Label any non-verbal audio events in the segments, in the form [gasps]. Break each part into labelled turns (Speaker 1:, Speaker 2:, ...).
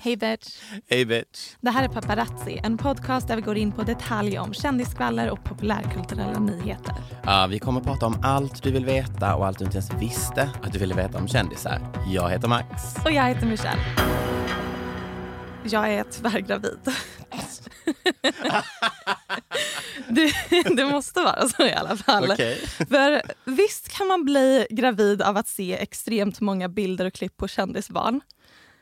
Speaker 1: Hej Bert!
Speaker 2: Hej bitch.
Speaker 1: Det här är Paparazzi, en podcast där vi går in på detaljer om kändisskvaller och populärkulturella nyheter.
Speaker 2: Ja, vi kommer prata om allt du vill veta och allt du inte ens visste att du ville veta om kändisar. Jag heter Max.
Speaker 1: Och jag heter Michelle. Jag är tyvärr gravid. [laughs] det, det måste vara så i alla fall.
Speaker 2: Okej.
Speaker 1: För visst kan man bli gravid av att se extremt många bilder och klipp på kändisbarn.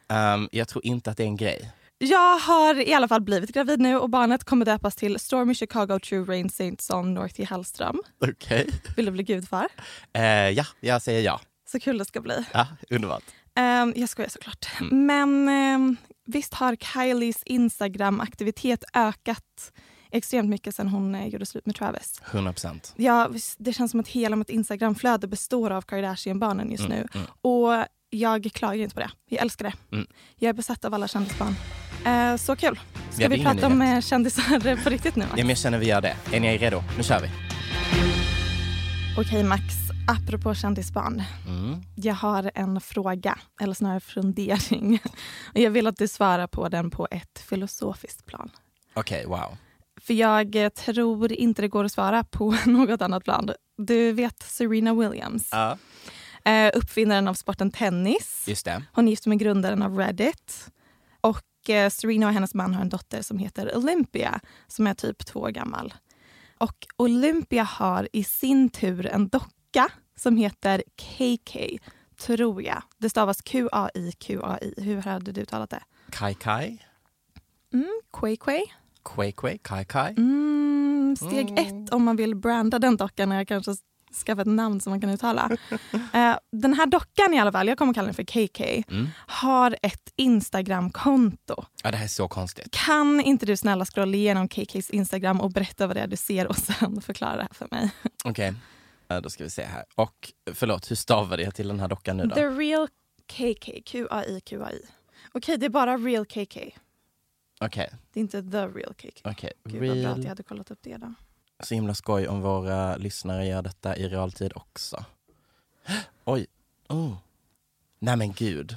Speaker 2: Ehm, jag tror inte att det är en grej.
Speaker 1: Jag har i alla fall blivit gravid nu och barnet kommer döpas till Stormy Chicago True Rain Saint Som Northie Hallström.
Speaker 2: Okej.
Speaker 1: Vill du bli gudfar?
Speaker 2: [laughs] Eh, ja, jag säger ja.
Speaker 1: Så kul det ska bli.
Speaker 2: Ja, underbart.
Speaker 1: Um, jag skojar såklart. Men ehm, visst har Kylies Instagram-aktivitet ökat extremt mycket sen hon eh, gjorde slut med Travis.
Speaker 2: 100 procent.
Speaker 1: Ja, visst, det känns som att hela mitt Instagram-flöde består av Kardashian-barnen just nu. Och jag klagar inte på det. Jag älskar det. Jag är besatt av alla kändisbarn. Eh, så kul. Ska
Speaker 2: Ja, det är
Speaker 1: vi
Speaker 2: ingen
Speaker 1: prata om
Speaker 2: nyhet.
Speaker 1: eh, kändisar [laughs] på riktigt nu? Max?
Speaker 2: Ja, men jag känner vi gör det. Är ni redo? Nu kör vi.
Speaker 1: Okej Max, apropå kändisbarn. Jag har en fråga, eller snarare fundering. [laughs] Och jag vill att du svarar på den på ett filosofiskt plan.
Speaker 2: Okej, wow.
Speaker 1: För jag eh, tror inte det går att svara på [laughs] något annat plan. Du vet Serena Williams,
Speaker 2: Ja,
Speaker 1: eh, uppfinnaren av sporten tennis.
Speaker 2: just det.
Speaker 1: Hon är gift med grundaren av Reddit. Och eh, Serena och hennes man har en dotter som heter Olympia som är typ två år gammal. Och Olympia har i sin tur en docka som heter KK, tror jag. Det stavas Q-A-I-Q-A-I. Hur hade du uttalat det?
Speaker 2: Kai Kai?
Speaker 1: Mm, Quay Quay.
Speaker 2: Quay Quay? Kai Kai?
Speaker 1: Mm, steg ett om man vill branda den dockan är kanske s- skaffa ett namn som man kan uttala. Eh, den här dockan i alla fall, jag kommer kalla den för KK, har ett Instagramkonto.
Speaker 2: Ja, det här är så konstigt.
Speaker 1: Kan inte du snälla scrolla igenom KKs Instagram och berätta vad det är du ser och sen förklara det här för mig?
Speaker 2: Okej, Eh, då ska vi se här. Och förlåt, hur stavade jag till den här dockan nu då?
Speaker 1: The real KK, Q-A-I-Q-A-I. Okej, det är bara real KK.
Speaker 2: Okej,
Speaker 1: Det är inte the real KK.
Speaker 2: okej.
Speaker 1: Gud vad bra att jag
Speaker 2: Real.
Speaker 1: hade kollat upp det då.
Speaker 2: Så himla skoj om våra lyssnare gör detta i realtid också. [gasps] Oj. Oh. Nej men gud.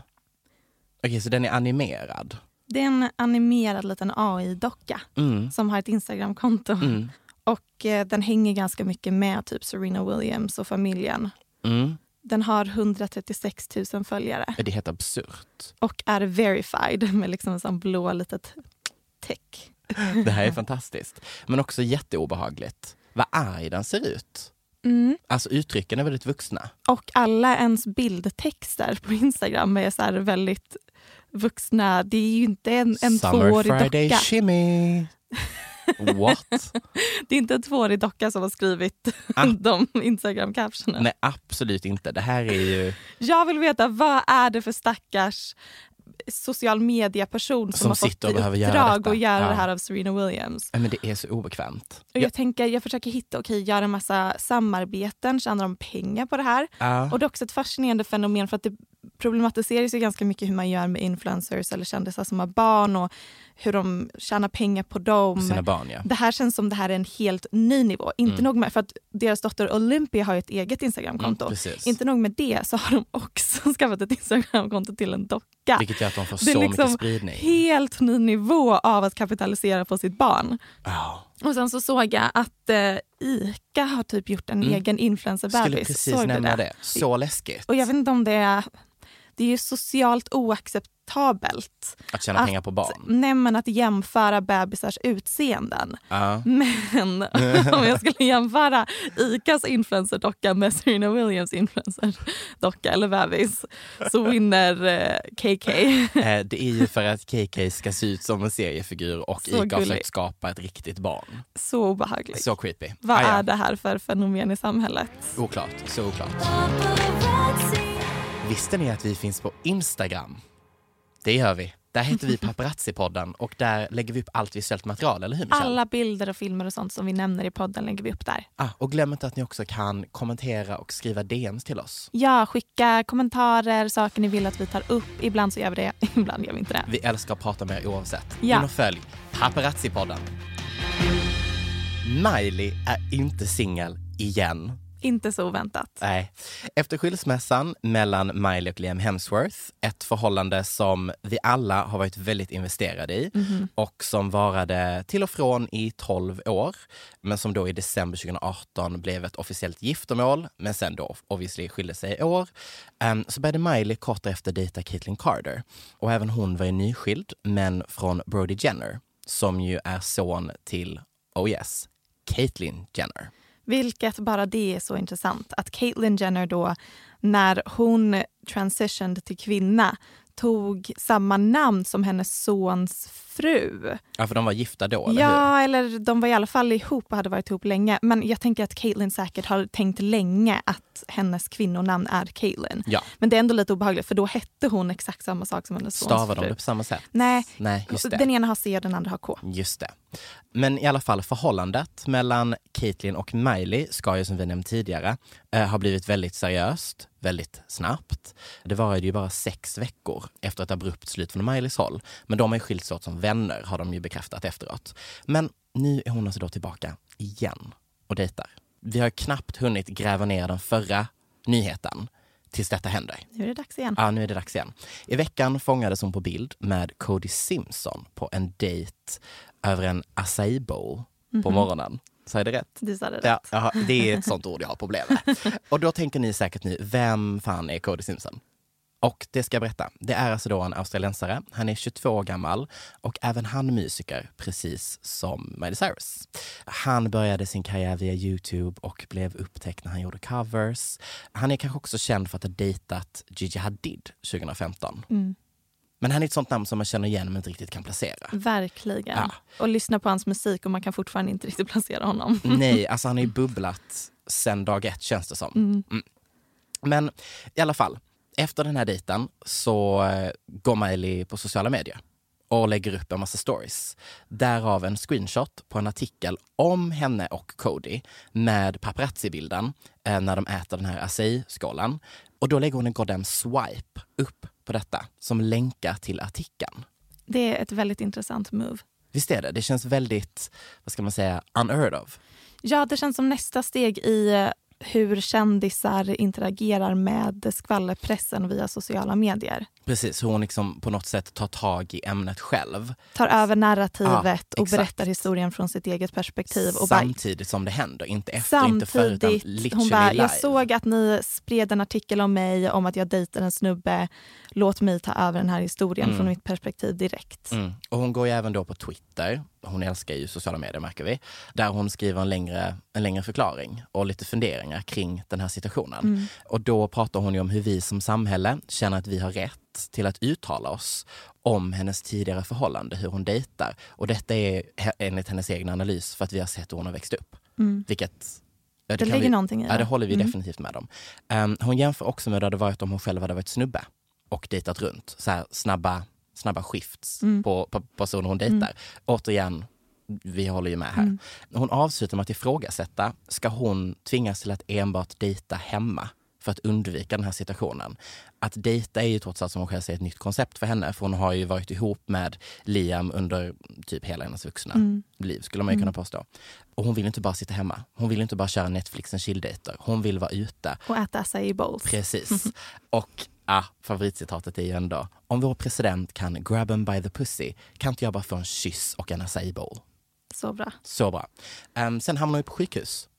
Speaker 2: Okej, så den är animerad.
Speaker 1: Det är en animerad liten AI-docka
Speaker 2: Mm.
Speaker 1: som har ett Instagramkonto.
Speaker 2: Mm.
Speaker 1: Och eh, den hänger ganska mycket med typ Serena Williams och familjen.
Speaker 2: Mm.
Speaker 1: Den har 136 000 följare
Speaker 2: Det är helt absurt.
Speaker 1: och är verified med liksom en sån blå litet tick. [laughs]
Speaker 2: Det här är fantastiskt. Men också jätteobehagligt. Vad arg den ser ut.
Speaker 1: Mm.
Speaker 2: Alltså uttrycken är väldigt vuxna.
Speaker 1: Och alla ens bildtexter på Instagram är så här väldigt vuxna. Det är ju inte en, en
Speaker 2: Summer
Speaker 1: tvåårig
Speaker 2: Friday
Speaker 1: docka. [laughs]
Speaker 2: shimmy. What?
Speaker 1: Det är inte en tvåårig docka som har skrivit
Speaker 2: Ah.
Speaker 1: [laughs] de Instagram-captionen.
Speaker 2: Nej absolut inte. Det här är ju
Speaker 1: Jag vill veta vad är det för stackars social media-person som,
Speaker 2: Som
Speaker 1: har fått
Speaker 2: sitter
Speaker 1: i
Speaker 2: och behöver göra
Speaker 1: uppdrag
Speaker 2: detta. Ah.
Speaker 1: att göra
Speaker 2: Ja.
Speaker 1: det här av Serena Williams.
Speaker 2: Nej, men det är så obekvämt.
Speaker 1: Och jag, tänker, jag försöker hitta, okej, göra en massa samarbeten, tjänar de pengar på det här?
Speaker 2: Ja.
Speaker 1: Och det är också ett fascinerande fenomen för att det problematiseras ju ganska mycket hur man gör med influencers eller kändisar som har barn och hur de tjänar pengar på dem.
Speaker 2: På sina barn ja. Mm.
Speaker 1: Det här känns som det här är en helt ny nivå. Inte nog med, för att deras dotter Olympia har ju ett eget Instagramkonto.
Speaker 2: Mm, precis.
Speaker 1: inte nog med det så har de också [laughs] skaffat ett Instagramkonto till en docka.
Speaker 2: Vilket gör att de får
Speaker 1: det är
Speaker 2: så mycket
Speaker 1: liksom
Speaker 2: spridning.
Speaker 1: helt ny nivå av att kapitalisera på sitt barn.
Speaker 2: Ja.
Speaker 1: Och sen så såg jag att eh, Ica har typ gjort en egen
Speaker 2: Mm. Skulle
Speaker 1: influencerbebis.
Speaker 2: precis
Speaker 1: Såg du
Speaker 2: nämna
Speaker 1: det?
Speaker 2: det. Så läskigt.
Speaker 1: Och jag vet inte om det är... Det är ju socialt oacceptabelt.
Speaker 2: Att tjäna
Speaker 1: att-
Speaker 2: pengar på barn.
Speaker 1: Nej men att jämföra bebisars utseenden.
Speaker 2: Ja.
Speaker 1: Men [laughs] om jag skulle jämföra Icas influencerdocka med Serena Williams influencerdocka eller bebis så vinner eh, KK.
Speaker 2: Eh, Det är ju för att KK ska se ut som en seriefigur och
Speaker 1: Så
Speaker 2: Ica har
Speaker 1: gullig.
Speaker 2: försökt skapa ett riktigt barn.
Speaker 1: [laughs] Så obehagligt.
Speaker 2: Så creepy.
Speaker 1: Vad
Speaker 2: Ah, ja.
Speaker 1: är det här för fenomen i samhället?
Speaker 2: Oklart. Så oklart. Visste ni att vi finns på Instagram? Det gör vi. Där
Speaker 1: [laughs]
Speaker 2: heter vi Paparazzi-podden och där lägger vi upp allt visuellt material, eller hur Michelle?
Speaker 1: Alla bilder och filmer och sånt som vi nämner i podden lägger vi upp där.
Speaker 2: Ah, och glöm inte att ni också kan kommentera och skriva DMs till oss.
Speaker 1: Ja, skicka kommentarer, saker ni vill att vi tar upp. Ibland så gör vi det, [laughs] ibland gör vi inte det.
Speaker 2: Vi älskar att prata med er oavsett.
Speaker 1: Ja.
Speaker 2: In och följ Paparazzi-podden. Miley är inte singel igen.
Speaker 1: Inte så oväntat.
Speaker 2: Nej. Efter skilsmässan mellan Miley och Liam Hemsworth, ett förhållande som vi alla har varit väldigt investerade i och som varade till och från i 12 år, men som då i december 2018 blev ett officiellt giftermål, men sen då obviously skilde sig i år, Ehm, så började Miley kort efter dejta Caitlyn Carter. Och även hon var ju nyskild, men från Brody Jenner, som ju är son till, oh yes, Caitlyn Jenner.
Speaker 1: Vilket bara det är så intressant. Att Caitlyn Jenner då, när hon transitioned till kvinna, tog samma namn som hennes sons fru.
Speaker 2: Ja, för de var gifta då, eller hur?
Speaker 1: ja, eller de var i alla fall ihop och hade varit ihop länge. Men jag tänker att Caitlyn säkert har tänkt länge att hennes kvinnonamn är Caitlyn.
Speaker 2: Ja.
Speaker 1: Men det är ändå lite obehagligt för då hette hon exakt samma sak som hennes sons
Speaker 2: Stavar de
Speaker 1: fru.
Speaker 2: det på samma sätt?
Speaker 1: typ Nej,
Speaker 2: Nej, just det.
Speaker 1: den ena har C och den andra har K.
Speaker 2: Just det. Men i alla fall förhållandet mellan Caitlyn och Miley ska ju som vi nämnt tidigare eh, ha blivit väldigt seriöst, väldigt snabbt. Det varade ju bara sex veckor efter ett abrupt slut från Mileys håll. Men de har ju skilts åt som vänner har de ju bekräftat efteråt. Men nu är hon alltså då tillbaka igen och dejtar. Vi har knappt hunnit gräva ner den förra nyheten tills detta händer.
Speaker 1: Nu är det dags igen.
Speaker 2: Ja, nu är det dags igen. I veckan fångades hon på bild med Cody Simpson på en dejt över en acai bowl på morgonen. Sa jag det rätt?
Speaker 1: Du sa det
Speaker 2: Ja,
Speaker 1: rätt.
Speaker 2: ja, det är ett sånt ord jag har problem med. Och då tänker ni säkert nu, vem fan är Cody Simpson? Och det ska jag berätta. Det är alltså då en australiensare. Han är 22 år gammal och även han musiker, precis som Miley Cyrus. Han började sin karriär via Youtube och blev upptäckt när han gjorde covers. Han är kanske också känd för att ha dejtat Gigi Hadid 2015. Men han är ett sånt namn som man känner igen men inte riktigt kan placera.
Speaker 1: Verkligen.
Speaker 2: Ja.
Speaker 1: Och lyssna på hans musik och man kan fortfarande inte riktigt placera honom.
Speaker 2: Nej, alltså han har ju bubblat sen dag ett känns det som. Mm. Men i alla fall, efter den här dejten så eh, går Miley på sociala medier och lägger upp en massa stories. Därav en screenshot på en artikel om henne och Cody med paparazzi-bilden eh, när de äter den här acai-skålen. Och då lägger hon en goddamn swipe upp på detta som länkar till artikeln.
Speaker 1: Det är ett väldigt intressant move.
Speaker 2: Visst är det? Det känns väldigt, vad ska man säga, unheard of.
Speaker 1: Ja, det känns som nästa steg i eh, hur kändisar interagerar med skvallerpressen via sociala medier.
Speaker 2: Precis, hur hon liksom på något sätt tar tag i ämnet själv
Speaker 1: Tar över narrativet
Speaker 2: Ja,
Speaker 1: och
Speaker 2: exakt.
Speaker 1: berättar historien från sitt eget perspektiv. Typ, Och bara,
Speaker 2: samtidigt som det händer. Inte efter, inte före, utan
Speaker 1: samtidigt,
Speaker 2: literally
Speaker 1: hon bara,
Speaker 2: live.
Speaker 1: jag såg att ni spred en artikel om mig om att jag dejtar en snubbe. Låt mig ta över den här historien från mitt perspektiv direkt.
Speaker 2: Mm. Och hon går ju även då på Twitter, hon älskar ju sociala medier märker vi, där hon skriver en längre, en längre förklaring och lite funderingar kring den här situationen.
Speaker 1: Mm.
Speaker 2: Och då pratar hon ju om hur vi som samhälle känner att vi har rätt till att uttala oss om hennes tidigare förhållande, hur hon dejtar. Och detta är he- enligt hennes egen analys för att vi har sett hur hon har växt upp.
Speaker 1: Mm.
Speaker 2: Vilket ja,
Speaker 1: Det
Speaker 2: kan
Speaker 1: ligger
Speaker 2: vi,
Speaker 1: någonting i
Speaker 2: Ja,
Speaker 1: det. Mm.
Speaker 2: det håller vi definitivt med om. Ehm, hon jämför också med hur det hade varit om hon själv hade varit snubbe och dejtat runt. Så här, snabba, snabba skifts
Speaker 1: Mm.
Speaker 2: på, på personer hon dejtar. Återigen, vi håller ju med här.
Speaker 1: Mm.
Speaker 2: Hon avslutar med att ifrågasätta, ska hon tvingas till att enbart dejta hemma? För för att undvika den här situationen. Att dejta är ju trots allt som hon själv säger ett nytt koncept för henne för hon har ju varit ihop med Liam under typ hela hennes vuxna
Speaker 1: Mm.
Speaker 2: liv skulle man ju kunna påstå. Och hon vill inte bara sitta hemma. Hon vill inte bara köra Netflix and chill-dejter. Hon vill vara ute.
Speaker 1: Och äta acai bowls. [laughs]
Speaker 2: Precis. Och ah, favoritcitatet är ju ändå, om vår president kan grab 'em by the pussy, kan inte jag bara få en kyss och en acai bowl?
Speaker 1: Så bra.
Speaker 2: Så bra. Ehm, sen hamnar hon ju på sjukhus.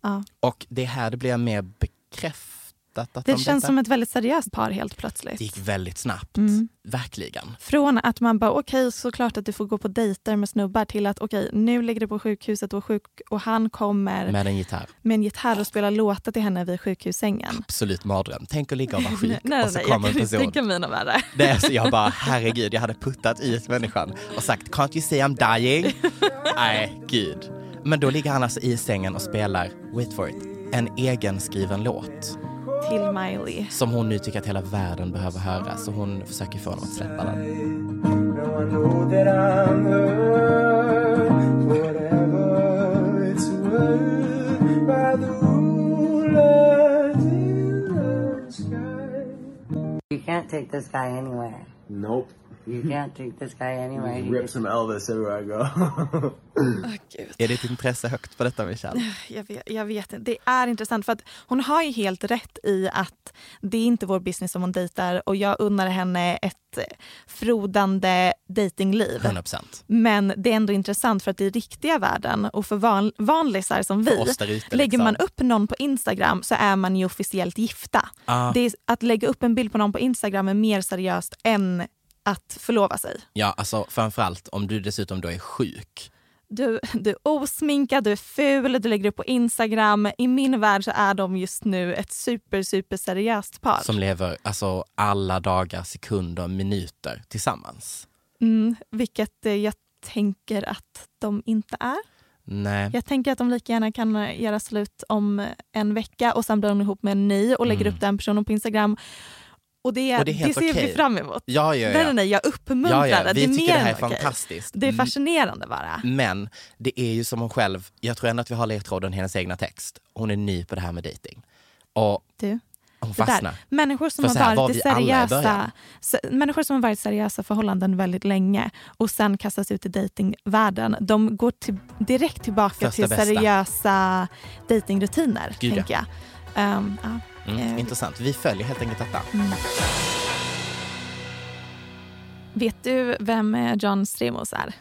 Speaker 1: Ja.
Speaker 2: Och det är här det blir mer bekräftat att
Speaker 1: Det
Speaker 2: de
Speaker 1: känns
Speaker 2: dejtar.
Speaker 1: som ett väldigt seriöst par helt plötsligt.
Speaker 2: Det gick väldigt snabbt.
Speaker 1: Mm.
Speaker 2: Verkligen.
Speaker 1: Från att man bara okej såklart att du får gå på dejter med snubbar till att okej nu ligger du på sjukhuset och är sjuk och han kommer
Speaker 2: Med en gitarr.
Speaker 1: med en gitarr och spelar låtar till henne vid sjukhussängen.
Speaker 2: Absolut mardröm. Tänk att
Speaker 1: [laughs]
Speaker 2: ligga och vara sjuk och så
Speaker 1: jag
Speaker 2: kommer
Speaker 1: kan
Speaker 2: en
Speaker 1: inte
Speaker 2: person.
Speaker 1: tänka mig något värre.
Speaker 2: Det är så jag bara, herregud, jag hade puttat ut människan och sagt “Can't you see I'm dying?” Nej, gud. Men då ligger han alltså i sängen och spelar, wait for it, en egenskriven låt
Speaker 1: Till Miley.
Speaker 2: som hon nu tycker att hela världen behöver höra så hon försöker få honom att släppa den.
Speaker 3: Now I know that I'm loved, whatever it's worth, by the rulers in the sky.
Speaker 4: You can't take this guy anywhere.
Speaker 3: Nope.
Speaker 4: You can't take this guy anywhere. He
Speaker 3: Rip some Elvis everywhere I go.
Speaker 2: Är ditt intresse högt på detta Michelle?
Speaker 1: Jag vet, jag vet inte. Det är intressant för att hon har ju helt rätt i att det är inte vår business om hon dejtar och jag unnar henne ett frodande dejtingliv.
Speaker 2: 100%.
Speaker 1: Men det är ändå intressant för att i riktiga världen och för van, vanlisar som vi,
Speaker 2: För oss där ute,
Speaker 1: lägger
Speaker 2: liksom.
Speaker 1: man upp någon på Instagram så är man ju officiellt gifta. Det är, att lägga upp en bild på någon på Instagram är mer seriöst än att förlova sig.
Speaker 2: Ja, alltså framförallt om du dessutom då är sjuk.
Speaker 1: Du, du är osminkad, du är ful, du lägger upp på Instagram. I min värld så är de just nu ett super, super seriöst par.
Speaker 2: Som lever alltså alla dagar, sekunder, minuter tillsammans.
Speaker 1: Vilket eh, jag tänker att de inte är.
Speaker 2: Nej.
Speaker 1: Jag tänker att de lika gärna kan eh, göra slut om eh, en vecka och sen blir de ihop med en ny och lägger upp den personen på Instagram. Och det,
Speaker 2: Mm. Och det
Speaker 1: det,
Speaker 2: är helt
Speaker 1: ser vi
Speaker 2: okej.
Speaker 1: fram emot.
Speaker 2: Ja, ja, ja.
Speaker 1: Nej, nej, nej, jag uppmuntrar
Speaker 2: Ja, ja,
Speaker 1: det.
Speaker 2: vi
Speaker 1: det. är
Speaker 2: tycker
Speaker 1: mer
Speaker 2: det här
Speaker 1: än
Speaker 2: är
Speaker 1: okej.
Speaker 2: fantastiskt.
Speaker 1: Det är
Speaker 2: Mm.
Speaker 1: fascinerande bara.
Speaker 2: Men det är ju som hon själv, jag tror ändå att vi har ledtråden i hennes egna text. Hon är ny på det här med dating. Och
Speaker 1: Du,
Speaker 2: hon
Speaker 1: det
Speaker 2: fastnar.
Speaker 1: där. Människor som
Speaker 2: För så
Speaker 1: har
Speaker 2: här var
Speaker 1: varit i
Speaker 2: vi alla i
Speaker 1: seriösa,
Speaker 2: början.
Speaker 1: se- människor som har varit i seriösa förhållanden väldigt länge och sen kastas ut i dejtingvärlden, de går till, direkt tillbaka
Speaker 2: Första
Speaker 1: till
Speaker 2: bästa.
Speaker 1: seriösa dejtingrutiner.
Speaker 2: Gud, ja.
Speaker 1: tänker jag. Ehm, ja.
Speaker 2: Mm,
Speaker 1: Eh,
Speaker 2: intressant. Vi följer helt enkelt detta.
Speaker 1: Vet du vem eh, John Stremos är?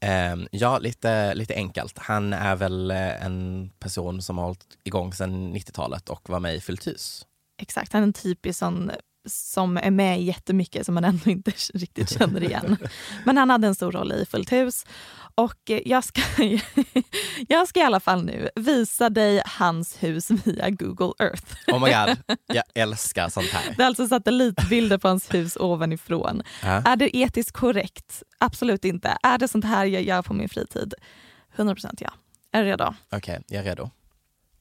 Speaker 2: Ehm, ja, lite, lite enkelt. Han är väl eh, en person som har hållit igång sedan 90-talet och var med i Fyllt hus.
Speaker 1: Exakt, han är en typisk sån som är med i jättemycket som man ändå inte riktigt känner igen. Men han hade en stor roll i Fullt hus. Och eh, jag ska, [laughs] jag ska i alla fall nu visa dig hans hus via Google Earth.
Speaker 2: Oh my god,
Speaker 1: [laughs]
Speaker 2: jag älskar sånt här.
Speaker 1: Det är alltså satellitbilder på hans hus ovanifrån. Är det etiskt korrekt? Absolut inte. Är det sånt här jag gör på min fritid? 100% ja. Är du redo?
Speaker 2: Okej, jag är redo.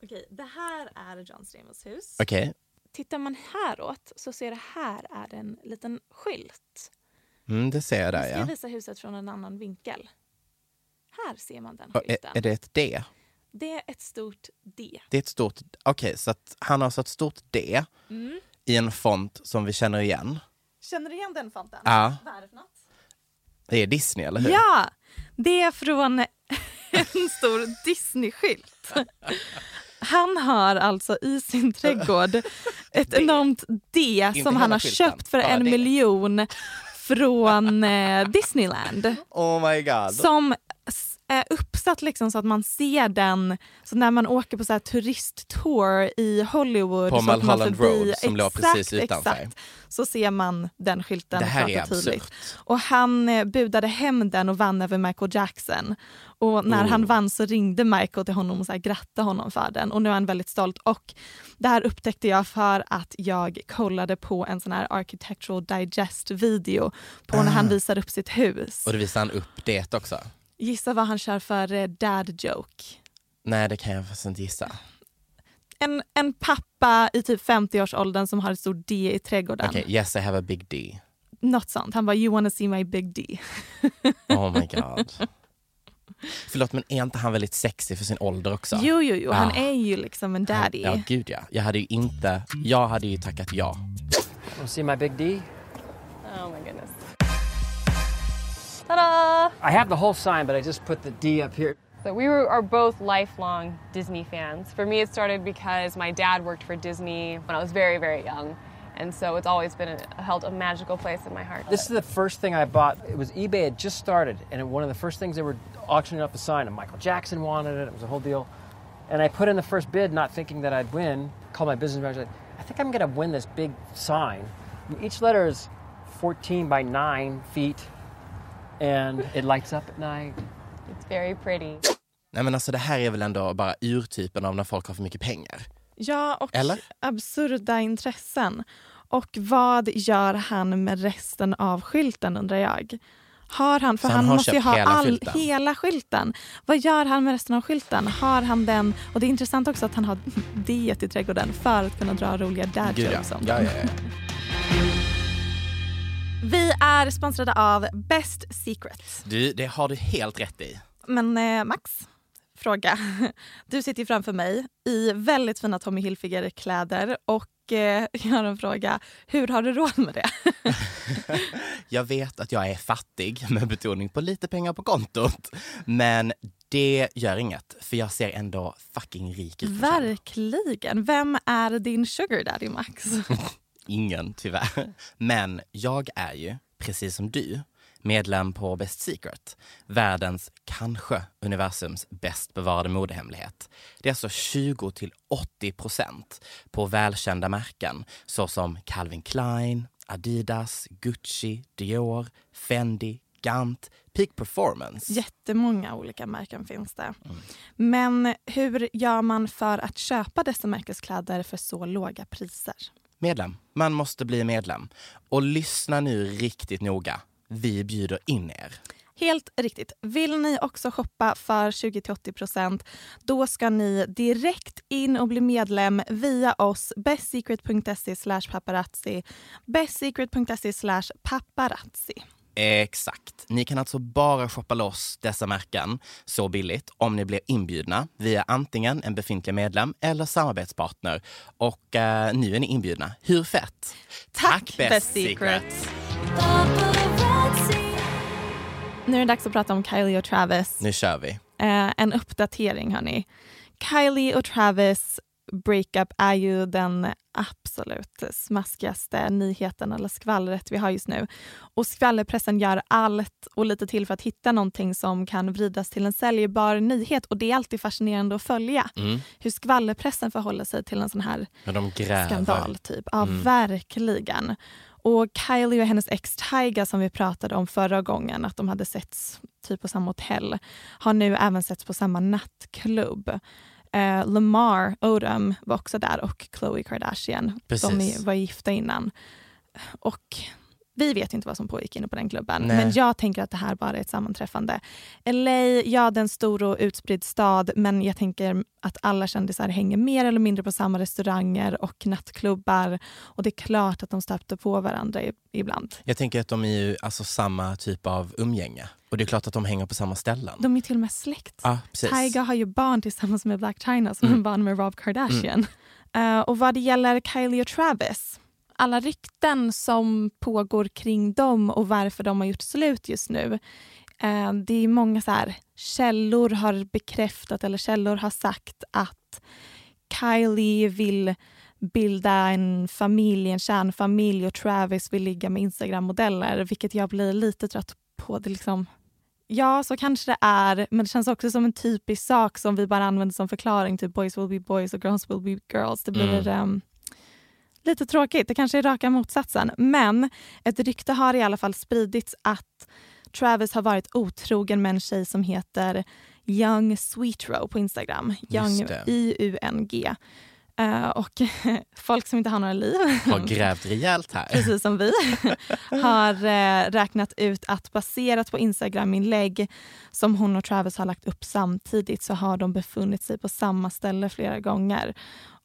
Speaker 1: Okej, det här är John Stremos hus.
Speaker 2: Okej,
Speaker 1: Tittar man häråt så ser det här är en liten skylt.
Speaker 2: mm, det ser
Speaker 1: Nu
Speaker 2: jag där
Speaker 1: ska jag
Speaker 2: ja.
Speaker 1: visa huset från en annan vinkel. Här ser man den
Speaker 2: Och är,
Speaker 1: skylten.
Speaker 2: är det ett D?
Speaker 1: Det är ett stort D.
Speaker 2: Det är ett stort... Okej, så att han har alltså ett stort D
Speaker 1: Mm.
Speaker 2: i en font som vi känner igen.
Speaker 1: Känner du igen den fonten?
Speaker 2: Ja. Eh.
Speaker 1: Vad är det för något?
Speaker 2: Det är Disney, eller hur?
Speaker 1: Ja, det är från [laughs] en stor Disney-skylt. Han har alltså i sin trädgård
Speaker 2: [laughs]
Speaker 1: ett enormt D som
Speaker 2: hela
Speaker 1: han har
Speaker 2: skylten,
Speaker 1: köpt för
Speaker 2: bara
Speaker 1: en
Speaker 2: det.
Speaker 1: miljon från eh, Disneyland.
Speaker 2: Oh my god.
Speaker 1: som s- är uppsatt liksom så att man ser den så när man åker på så här turisttour i Hollywood.
Speaker 2: På
Speaker 1: så åker man
Speaker 2: Mulholland
Speaker 1: förbi-
Speaker 2: Road som låg precis utanför.
Speaker 1: Exakt, så ser man den skylten
Speaker 2: Det här
Speaker 1: klart
Speaker 2: är
Speaker 1: och tydligt.
Speaker 2: absurt.
Speaker 1: Och han eh, budade hem den och vann över Michael Jackson. Och när
Speaker 2: Oh.
Speaker 1: han vann så ringde Michael till honom och så här grattade honom för den. Och nu är han väldigt stolt. Och det här upptäckte jag för att jag kollade på en sån här Architectural Digest-video på när
Speaker 2: Ah.
Speaker 1: han visar upp sitt hus.
Speaker 2: Och då visar han upp det också.
Speaker 1: Gissa vad han kör för eh, dad joke.
Speaker 2: Nej, det kan jag faktiskt inte gissa.
Speaker 1: En, en pappa i typ 50-årsåldern som har ett stort D i trädgården.
Speaker 2: Okej, yes I have a big D.
Speaker 1: [laughs] Något sånt. Han bara “you wanna see my big D”.
Speaker 2: Oh my god. Förlåt, men är inte han väldigt sexig för sin ålder också?
Speaker 1: Jo, jo, jo. Han
Speaker 2: Ja. Ah.
Speaker 1: är ju liksom en daddy.
Speaker 2: Ja, gud ja. Jag hade ju inte... Jag hade ju tackat ja.
Speaker 5: Want to see my big D?
Speaker 6: Oh my goodness. Ta-da!
Speaker 5: I have the whole sign, but I just put the D up here.
Speaker 6: So we were, are both lifelong Disney fans. For me, it started because my dad worked for Disney when I was very, very young. And so it's always been a, held a magical place in my heart.
Speaker 7: This is the first thing I bought. It was eBay had just started, and it, one of the first things they were auctioning off the sign, and Michael Jackson wanted it. It was a whole deal. And I put in the first bid, not thinking that I'd win. Called my business manager. like, I think I'm going to win this big sign. Each letter is 14 by 9 feet, and it lights up at night.
Speaker 6: It's very pretty.
Speaker 2: Nej, men alltså, det här är väl ändå bara urtypen av när folk har för mycket pengar.
Speaker 1: Ja, och
Speaker 2: Eller?
Speaker 1: absurda intressen. Och vad gör han med resten av skylten undrar jag? Har han, för
Speaker 2: Så
Speaker 1: han,
Speaker 2: han har
Speaker 1: måste ju
Speaker 2: köpt
Speaker 1: ha
Speaker 2: hela
Speaker 1: all,
Speaker 2: skylten?
Speaker 1: hela skylten. Vad gör han med resten av skylten? Har han den? Och det är intressant också att han har [laughs] diet i trädgården för att kunna dra roliga dad
Speaker 2: Gud ja.
Speaker 1: jokes
Speaker 2: ja,
Speaker 1: om
Speaker 2: ja,
Speaker 1: den.
Speaker 2: ja, ja.
Speaker 1: Vi är sponsrade av Best Secrets.
Speaker 2: Du, det har du helt rätt i.
Speaker 1: Men eh, Max, fråga. Du sitter ju framför mig i väldigt fina Tommy Hilfiger-kläder och eh, jag har en fråga. Hur har du råd med det?
Speaker 2: Jag vet att jag är fattig, [laughs] med betoning på lite pengar på kontot. Men det gör inget, för jag ser ändå fucking rik ut.
Speaker 1: Verkligen. Vem är din sugar daddy, Max?
Speaker 2: Ingen, tyvärr. [laughs] Men jag är ju, precis som du, medlem på Best Secret. Världens, kanske universums bäst bevarade modehemlighet. Det är alltså 20 till 80 procent på välkända märken såsom Calvin Klein, Adidas, Gucci, Dior, Fendi, Gant, Peak Performance.
Speaker 1: Jättemånga olika märken finns det. Men hur gör man för att köpa dessa märkeskläder för så låga priser?
Speaker 2: Medlem. Man måste bli medlem. Och lyssna nu riktigt noga. Vi bjuder in er.
Speaker 1: Helt riktigt. Vill ni också shoppa för 20-80 då ska ni direkt in och bli medlem via oss. bestsecret.se slash paparazzi. bestsecret.se slash paparazzi.
Speaker 2: Exakt. Ni kan alltså bara shoppa loss dessa märken så billigt om ni blir inbjudna via antingen en befintlig medlem eller samarbetspartner. Och eh, nu är ni inbjudna. Hur fett?
Speaker 1: Tack, Best Secret. Nu är det dags att prata om Kylie och Travis.
Speaker 2: Nu kör vi.
Speaker 1: Eh, en uppdatering, hörni. Kylie och Travis breakup är ju den absolut smaskigaste nyheten eller skvallret vi har just nu. Och skvallerpressen gör allt och lite till för att hitta någonting som kan vridas till en säljbar nyhet och det är alltid fascinerande att följa hur skvallerpressen förhåller sig till en sån här
Speaker 2: Men de gräver.
Speaker 1: skandal. Typ. Ja, verkligen. Och Kylie och hennes ex Tyga som vi pratade om förra gången, att de hade setts typ på samma hotell, har nu även setts på samma nattklubb. Eh, Lamar Odom var också där och Khloe Kardashian.
Speaker 2: Precis.
Speaker 1: De är- var gifta innan. Och vi vet inte vad som pågick inne på den klubben,
Speaker 2: Nej.
Speaker 1: men jag tänker att det här bara är ett sammanträffande. LA, ja det är en stor och utspridd stad, men jag tänker att alla kändisar hänger mer eller mindre på samma restauranger och nattklubbar. Och det är klart att de stöpte på varandra i, ibland.
Speaker 2: Jag tänker att de är ju alltså samma typ av umgänge. Och det är klart att de hänger på samma ställen.
Speaker 1: De är till och med släkt.
Speaker 2: Ja, precis.
Speaker 1: Tyga har ju barn tillsammans med Black China som har barn med Rob Kardashian. Eh, och vad det gäller Kylie och Travis, alla rykten som pågår kring dem och varför de har gjort slut just nu. eh, det är många så här, källor har bekräftat eller källor har sagt att Kylie vill bilda en familj, en kärnfamilj och Travis vill ligga med Instagram-modeller, vilket jag blir lite trött på. Det liksom, Ja, så kanske det är. Men det känns också som en typisk sak som vi bara använder som förklaring. Typ boys will be boys och girls will be girls. Det blir ehm, lite tråkigt. Det kanske är raka motsatsen. Men ett rykte har i alla fall spridits att Travis har varit otrogen med en tjej som heter Young Sweetrow på Instagram. Young
Speaker 2: det.
Speaker 1: Y-U-N-G. Eh, och [laughs] folk som inte har några liv
Speaker 2: Har grävt rejält här.
Speaker 1: precis som vi, har eh, räknat ut att baserat på Instagram-inlägg som hon och Travis har lagt upp samtidigt så har de befunnit sig på samma ställe flera gånger.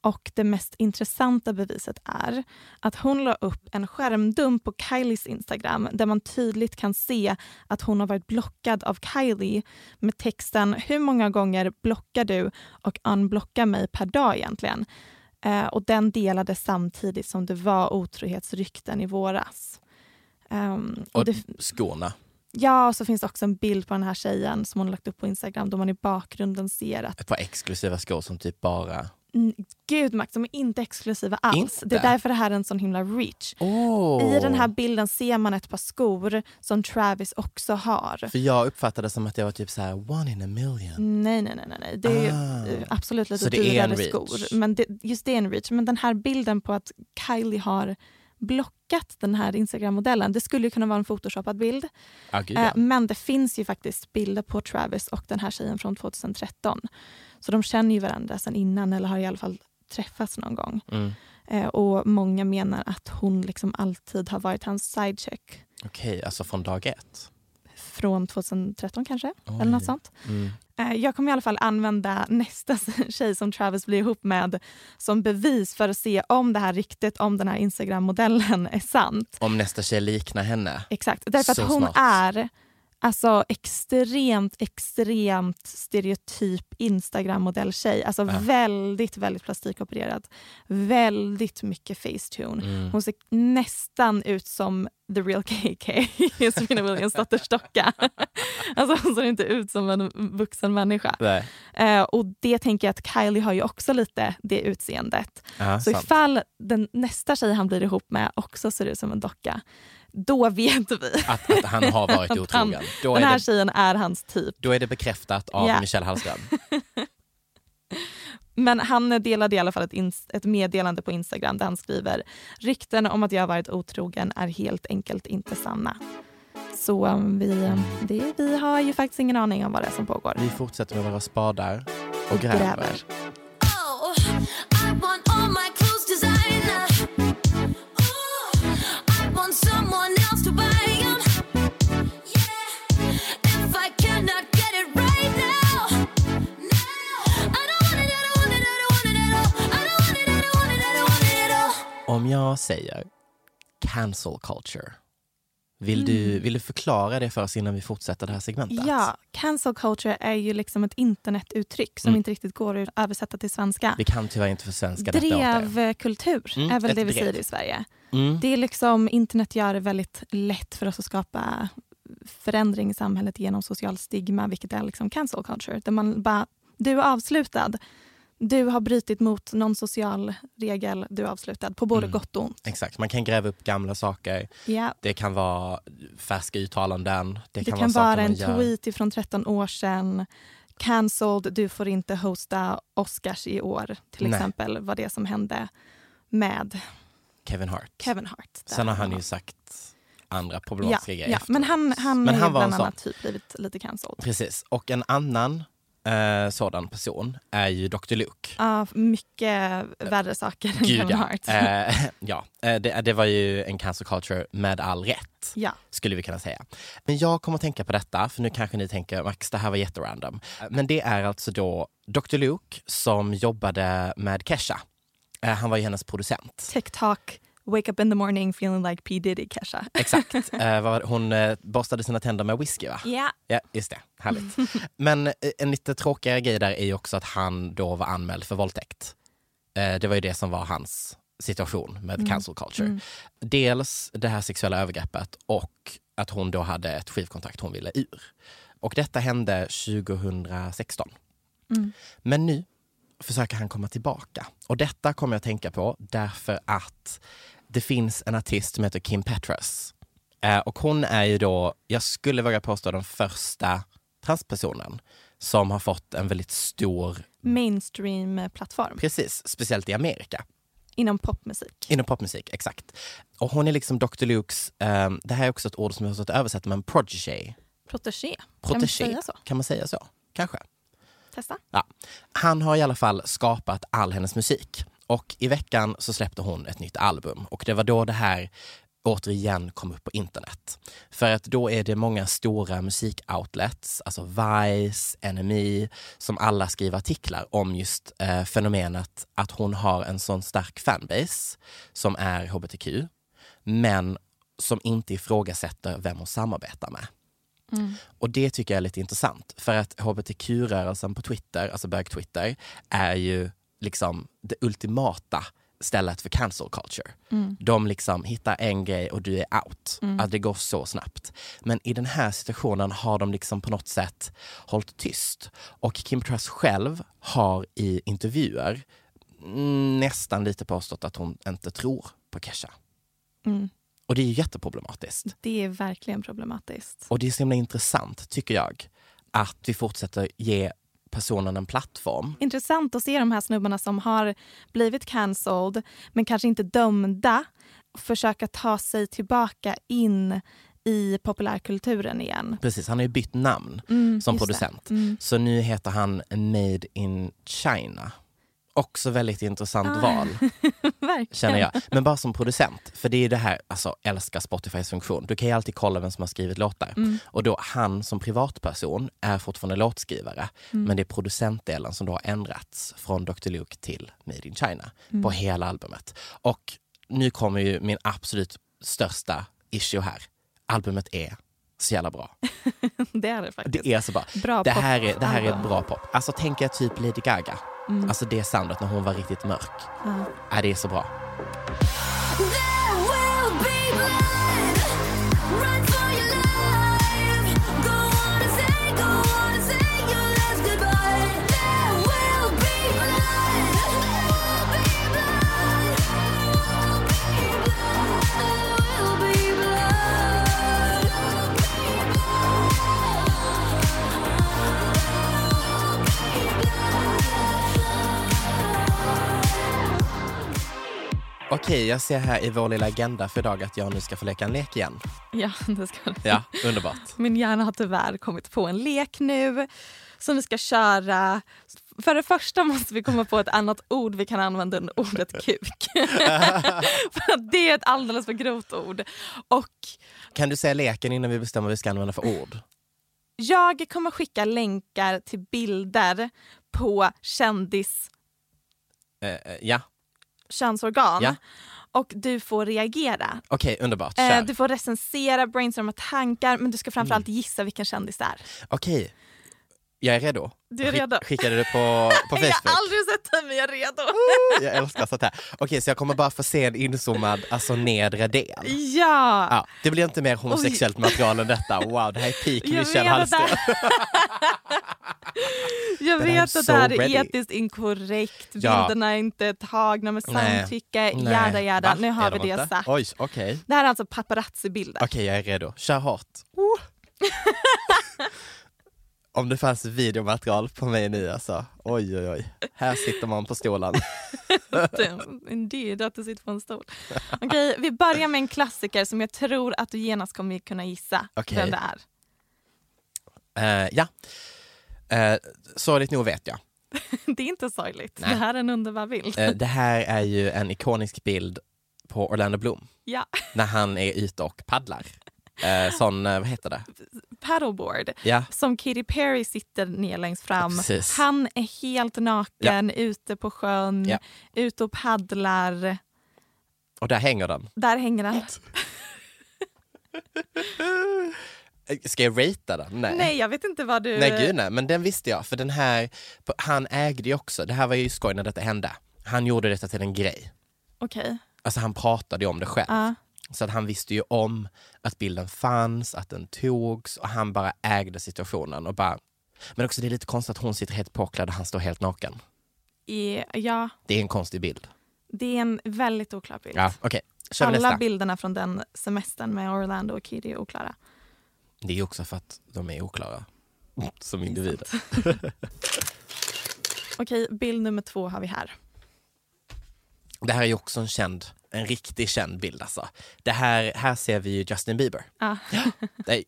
Speaker 1: Och det mest intressanta beviset är att hon la upp en skärmdump på Kylies Instagram där man tydligt kan se att hon har varit blockad av Kylie med texten “Hur många gånger blockar du och unblockar mig per dag egentligen?” eh, och den delades samtidigt som det var otrohetsrykten i våras. Ehm, och
Speaker 2: Och
Speaker 1: det,
Speaker 2: skorna.
Speaker 1: ja, och så finns det också en bild på den här tjejen som hon har lagt upp på Instagram då man i bakgrunden ser att
Speaker 2: Ett par exklusiva skor som typ bara...
Speaker 1: Mm, Gud Max, de är inte exklusiva alls.
Speaker 2: Inte?
Speaker 1: Det är därför det här är en sån himla reach.
Speaker 2: Oh.
Speaker 1: I den här bilden ser man ett par skor som Travis också har.
Speaker 2: För jag uppfattade som att det var typ så här one in a million.
Speaker 1: Nej, nej, nej, nej, nej. Det är ju
Speaker 2: Ah.
Speaker 1: eh, absolut lite
Speaker 2: Så det är en
Speaker 1: dyrare
Speaker 2: reach.
Speaker 1: skor. Men det, just det är en reach. Men den här bilden på att Kylie har blockat den här Instagram-modellen. Det skulle ju kunna vara en photoshopad bild.
Speaker 2: Ah, gud,
Speaker 1: Eh,
Speaker 2: ja.
Speaker 1: Men det finns ju faktiskt bilder på Travis och den här tjejen från 2013. Så de känner ju varandra sedan innan eller har i alla fall träffats någon gång.
Speaker 2: Mm.
Speaker 1: Eh, Och många menar att hon liksom alltid har varit hans sidecheck
Speaker 2: Okej, alltså från dag ett.
Speaker 1: från 2013 kanske,
Speaker 2: Oj.
Speaker 1: eller något sånt.
Speaker 2: Mm.
Speaker 1: Eh, Jag kommer i alla fall använda nästa [laughs] tjej som Travis blir ihop med som bevis för att se om det här ryktet om den här Instagram-modellen [laughs] är sant.
Speaker 2: Om nästa tjej liknar henne.
Speaker 1: Exakt. Därför
Speaker 2: Så
Speaker 1: att hon
Speaker 2: smart.
Speaker 1: är alltså, extremt, extremt stereotyp Instagram-modelltjej. Alltså väldigt, väldigt plastikopererad. Väldigt mycket facetune.
Speaker 2: Mm.
Speaker 1: Hon ser nästan ut som the real [laughs] KK, Serena Williams dotters docka. [laughs] alltså hon ser inte ut som en vuxen människa.
Speaker 2: Nej.
Speaker 1: Eh, och det tänker jag att Kylie har ju också lite det utseendet.
Speaker 2: Ja,
Speaker 1: Så
Speaker 2: sant.
Speaker 1: ifall den nästa tjej han blir ihop med också ser ut som en docka, då vet vi.
Speaker 2: Att, att han har varit
Speaker 1: att [laughs] han-
Speaker 2: otrogen. Då
Speaker 1: den
Speaker 2: är,
Speaker 1: här
Speaker 2: det,
Speaker 1: tjejen är hans typ.
Speaker 2: då är det bekräftat av
Speaker 1: Ja.
Speaker 2: Michelle Hallström.
Speaker 1: Men han delade i alla fall ett, ins- ett meddelande på Instagram där han skriver “Rykten om att jag har varit otrogen är helt enkelt inte sanna”. Så um, vi, det, vi har ju faktiskt ingen aning om vad det är som pågår.
Speaker 2: Vi fortsätter med våra spadar och
Speaker 1: Gräver.
Speaker 2: gräver. Om jag säger cancel culture, vill, du, vill du förklara det för oss innan vi fortsätter det här segmentet?
Speaker 1: Mm. Ja, cancel culture är ju liksom ett internetuttryck som
Speaker 2: Mm.
Speaker 1: inte riktigt går att översätta till svenska.
Speaker 2: Vi kan tyvärr inte försvenska detta åt er.
Speaker 1: Drevkultur
Speaker 2: Mm,
Speaker 1: är väl
Speaker 2: ett
Speaker 1: det vi
Speaker 2: drev.
Speaker 1: säger i Sverige.
Speaker 2: Mm.
Speaker 1: Det är liksom, internet gör det väldigt lätt för oss att skapa förändring i samhället genom social stigma, vilket är liksom cancel culture. Där man bara, du är avslutad. Du har brutit mot någon social regel, du är avslutad. På både
Speaker 2: Mm.
Speaker 1: gott och ont.
Speaker 2: Exakt, man kan gräva upp gamla saker.
Speaker 1: Ja.
Speaker 2: Det kan vara färska uttalanden.
Speaker 1: Det
Speaker 2: Det
Speaker 1: kan,
Speaker 2: kan,
Speaker 1: vara,
Speaker 2: saker man
Speaker 1: en
Speaker 2: gör.
Speaker 1: tweet från 13 år sedan. Cancelled, du får inte hosta Oscars i år. Till
Speaker 2: Nej.
Speaker 1: exempel vad det som hände med
Speaker 2: Kevin Hart.
Speaker 1: Kevin Hart. Där
Speaker 2: Sen har han
Speaker 1: var-
Speaker 2: ju sagt andra
Speaker 1: ja,
Speaker 2: problematiska grejer.
Speaker 1: ja, men han, han,
Speaker 2: Men
Speaker 1: har ju
Speaker 2: han var en
Speaker 1: bland
Speaker 2: sån.
Speaker 1: annat typ blivit lite cancelled.
Speaker 2: Precis, och en annan eh, sådan person är ju Dr. Luke.
Speaker 1: Ja, mycket värre saker än [laughs] Kevin
Speaker 2: ja.
Speaker 1: Hart.
Speaker 2: Eh, [laughs] ja. Eh, det, det var ju en cancel culture med all rätt.
Speaker 1: Ja.
Speaker 2: skulle vi kunna säga. Men jag kommer att tänka på detta, för nu kanske ni tänker Max, det här var jätterandom. Men det är alltså då Dr. Luke som jobbade med Kesha. Eh, Han var ju hennes producent.
Speaker 1: TikTok, wake up in the morning feeling like P Diddy Kesha.
Speaker 2: Exakt. Eh, vad var det? Hon eh, borstade sina tänder med whisky va?
Speaker 1: Ja.
Speaker 2: Ja, just det. Härligt. Men eh, en lite tråkigare grej där är ju också att han då var anmäld för våldtäkt. Eh, Det var ju det som var hans situation med cancel culture. Dels det här sexuella övergreppet och att hon då hade ett skivkontrakt hon ville ur. Och detta hände 2016. Men nu försöker han komma tillbaka. Och detta kommer jag att tänka på därför att det finns en artist som heter Kim Petras. Eh, och hon är ju då, jag skulle våga påstå den första transpersonen som har fått en väldigt stor,
Speaker 1: Mainstream-plattform
Speaker 2: precis, speciellt i Amerika,
Speaker 1: inom popmusik.
Speaker 2: inom popmusik, exakt. Och hon är liksom Dr. Lukes, eh, det här är också ett ord som jag har svårt att översätta, men protege.
Speaker 1: Protégé. Kan man
Speaker 2: protege.
Speaker 1: säga så?
Speaker 2: Kan man säga så? Kanske.
Speaker 1: Testa.
Speaker 2: Ja. Han har i alla fall skapat all hennes musik. Och i veckan så släppte hon ett nytt album. Och det var då det här återigen kom upp på internet. För att då är det många stora musikoutlets, alltså Vice, NME, som alla skriver artiklar om just eh, fenomenet att hon har en sån stark fanbase som är hbtq, men som inte ifrågasätter vem hon samarbetar med. Och det tycker jag är lite intressant för att hbtq-rörelsen på Twitter, alltså bög-Twitter, är ju liksom det ultimata stället för cancel culture. De liksom hittar en grej och du är out. Att det går så snabbt. Men i den här situationen har de liksom på något sätt hållit tyst. Och Kim Truss själv har i intervjuer mm, nästan lite påstått att hon inte tror på Kesha. Och det är ju jätteproblematiskt.
Speaker 1: Det är verkligen problematiskt.
Speaker 2: Och det är så himla intressant, tycker jag, att vi fortsätter ge personen en plattform.
Speaker 1: intressant att se de här snubbarna som har blivit cancelled men kanske inte dömda försöka ta sig tillbaka in i populärkulturen igen. [laughs]
Speaker 2: Precis, han har ju bytt namn som producent. Så nu heter han Made in China. Också väldigt intressant val,
Speaker 1: Verkligen.
Speaker 2: känner jag. Men bara som producent, för det är ju det här, alltså älskar Spotifys funktion. Du kan ju alltid kolla vem som har skrivit låtar.
Speaker 1: Mm.
Speaker 2: Och då han som privatperson är fortfarande låtskrivare,
Speaker 1: Mm.
Speaker 2: men det är producentdelen som då har ändrats från Dr. Luke till Made in China
Speaker 1: Mm.
Speaker 2: på hela albumet. Och nu kommer ju min absolut största issue här. Albumet är så jävla bra.
Speaker 1: Det är det faktiskt.
Speaker 2: Det är så bra.
Speaker 1: [laughs] Bra
Speaker 2: det,
Speaker 1: pop. Mm.
Speaker 2: här är, det här är ett bra pop. Alltså tänk er typ Lady Gaga. Alltså det soundet när hon var riktigt mörk. Ja, det är så bra. Okej, jag ser här i vår lilla agenda för idag att jag nu ska få leka en lek igen.
Speaker 1: Ja, det ska det.
Speaker 2: Ja, underbart.
Speaker 1: Min hjärna har tyvärr kommit på en lek nu som vi ska köra. För det första måste vi komma på ett annat ord vi kan använda under
Speaker 2: [laughs]
Speaker 1: ordet kuk. [laughs] för att det är ett alldeles för grovt ord. Och
Speaker 2: Kan du säga leken innan vi bestämmer vad vi ska använda för ord?
Speaker 1: Jag kommer skicka länkar till bilder på kändis
Speaker 2: Eh, eh, ja,
Speaker 1: könsorgan
Speaker 2: Ja.
Speaker 1: och du får reagera.
Speaker 2: okej, underbart.
Speaker 1: Eh,
Speaker 2: Kör. Mm.
Speaker 1: Du får recensera, brainstorma tankar men du ska framförallt gissa vilken kändis det är.
Speaker 2: Okej, jag är redo.
Speaker 1: Du är
Speaker 2: Skick-
Speaker 1: redo.
Speaker 2: Skickade
Speaker 1: [laughs]
Speaker 2: du på, på
Speaker 1: Jag har
Speaker 2: Facebook?
Speaker 1: aldrig sett dig men jag är redo.
Speaker 2: Jag älskar sånt här. Okej, så jag kommer bara få se en inzoomad, alltså nedre del.
Speaker 1: [laughs] Ja!
Speaker 2: Ja, det blir inte mer homosexuellt material än detta. Wow, det här är peak
Speaker 1: Jag
Speaker 2: Michelle
Speaker 1: vet att det
Speaker 2: Hallström.
Speaker 1: här- [laughs] Jag
Speaker 2: But
Speaker 1: vet
Speaker 2: I'm
Speaker 1: att det här
Speaker 2: so
Speaker 1: är
Speaker 2: ready.
Speaker 1: etiskt inkorrekt,
Speaker 2: Ja.
Speaker 1: bilderna är inte tagna med
Speaker 2: Nej.
Speaker 1: samtycke,
Speaker 2: Nej,
Speaker 1: jada jada.
Speaker 2: va?
Speaker 1: Nu har
Speaker 2: Är
Speaker 1: vi
Speaker 2: de
Speaker 1: det
Speaker 2: inte?
Speaker 1: sagt.
Speaker 2: Oj, okej.
Speaker 1: Det här är alltså paparazzi-bilder. [laughs]
Speaker 2: [laughs] Okej, jag är redo. Kör hårt. [laughs] Om det fanns videomaterial på mig nu alltså. Oj, oj, oj. Här sitter man på stolen.
Speaker 1: Damn, Indeed, att du sitter på en stol. Okej, vi börjar med en klassiker som jag tror att du genast kommer kunna gissa
Speaker 2: Okej.
Speaker 1: vem det är. [laughs]
Speaker 2: Eh, ja. Uh, sorgligt nog vet jag.
Speaker 1: Det är inte sorgligt. Det här är en underbar bild.
Speaker 2: Eh, det här är ju en ikonisk bild på Orlando Bloom
Speaker 1: Ja, [laughs]
Speaker 2: när han är ute och paddlar. Eh, sån, eh, vad heter det?
Speaker 1: paddleboard.
Speaker 2: Ja.
Speaker 1: Som Katy Perry sitter ner längst fram.
Speaker 2: Precis.
Speaker 1: Han är helt naken ute på sjön,
Speaker 2: Ja.
Speaker 1: ute och paddlar.
Speaker 2: Och där hänger den.
Speaker 1: Där hänger han.
Speaker 2: Eh, Ska jag ratea den? Nej.
Speaker 1: Nej, jag vet inte vad du...
Speaker 2: Nej gud nej, men den visste jag. För den här, han ägde ju också, det här var ju skoj när detta hände. Han gjorde detta till en grej.
Speaker 1: Okej.
Speaker 2: Alltså han pratade ju om det själv.
Speaker 1: Ja.
Speaker 2: Så att han visste ju om att bilden fanns, att den togs och han bara ägde situationen och bara... Men också det är lite konstigt att hon sitter helt påklädd och han står helt naken.
Speaker 1: I- Ja,
Speaker 2: Det är en konstig bild.
Speaker 1: det är en väldigt oklar bild.
Speaker 2: Ja, okej. Kör vi
Speaker 1: Alla
Speaker 2: nästa.
Speaker 1: bilderna från den semestern med Orlando och Katy är oklara.
Speaker 2: Det är också för att de är oklara
Speaker 1: Mm.
Speaker 2: som individer.
Speaker 1: [laughs] Okej, bild nummer två har vi här.
Speaker 2: Det här är ju också en känd, en riktig känd bild alltså. Det här, här ser vi ju Justin Bieber.
Speaker 1: Ja. [laughs]
Speaker 2: Det är,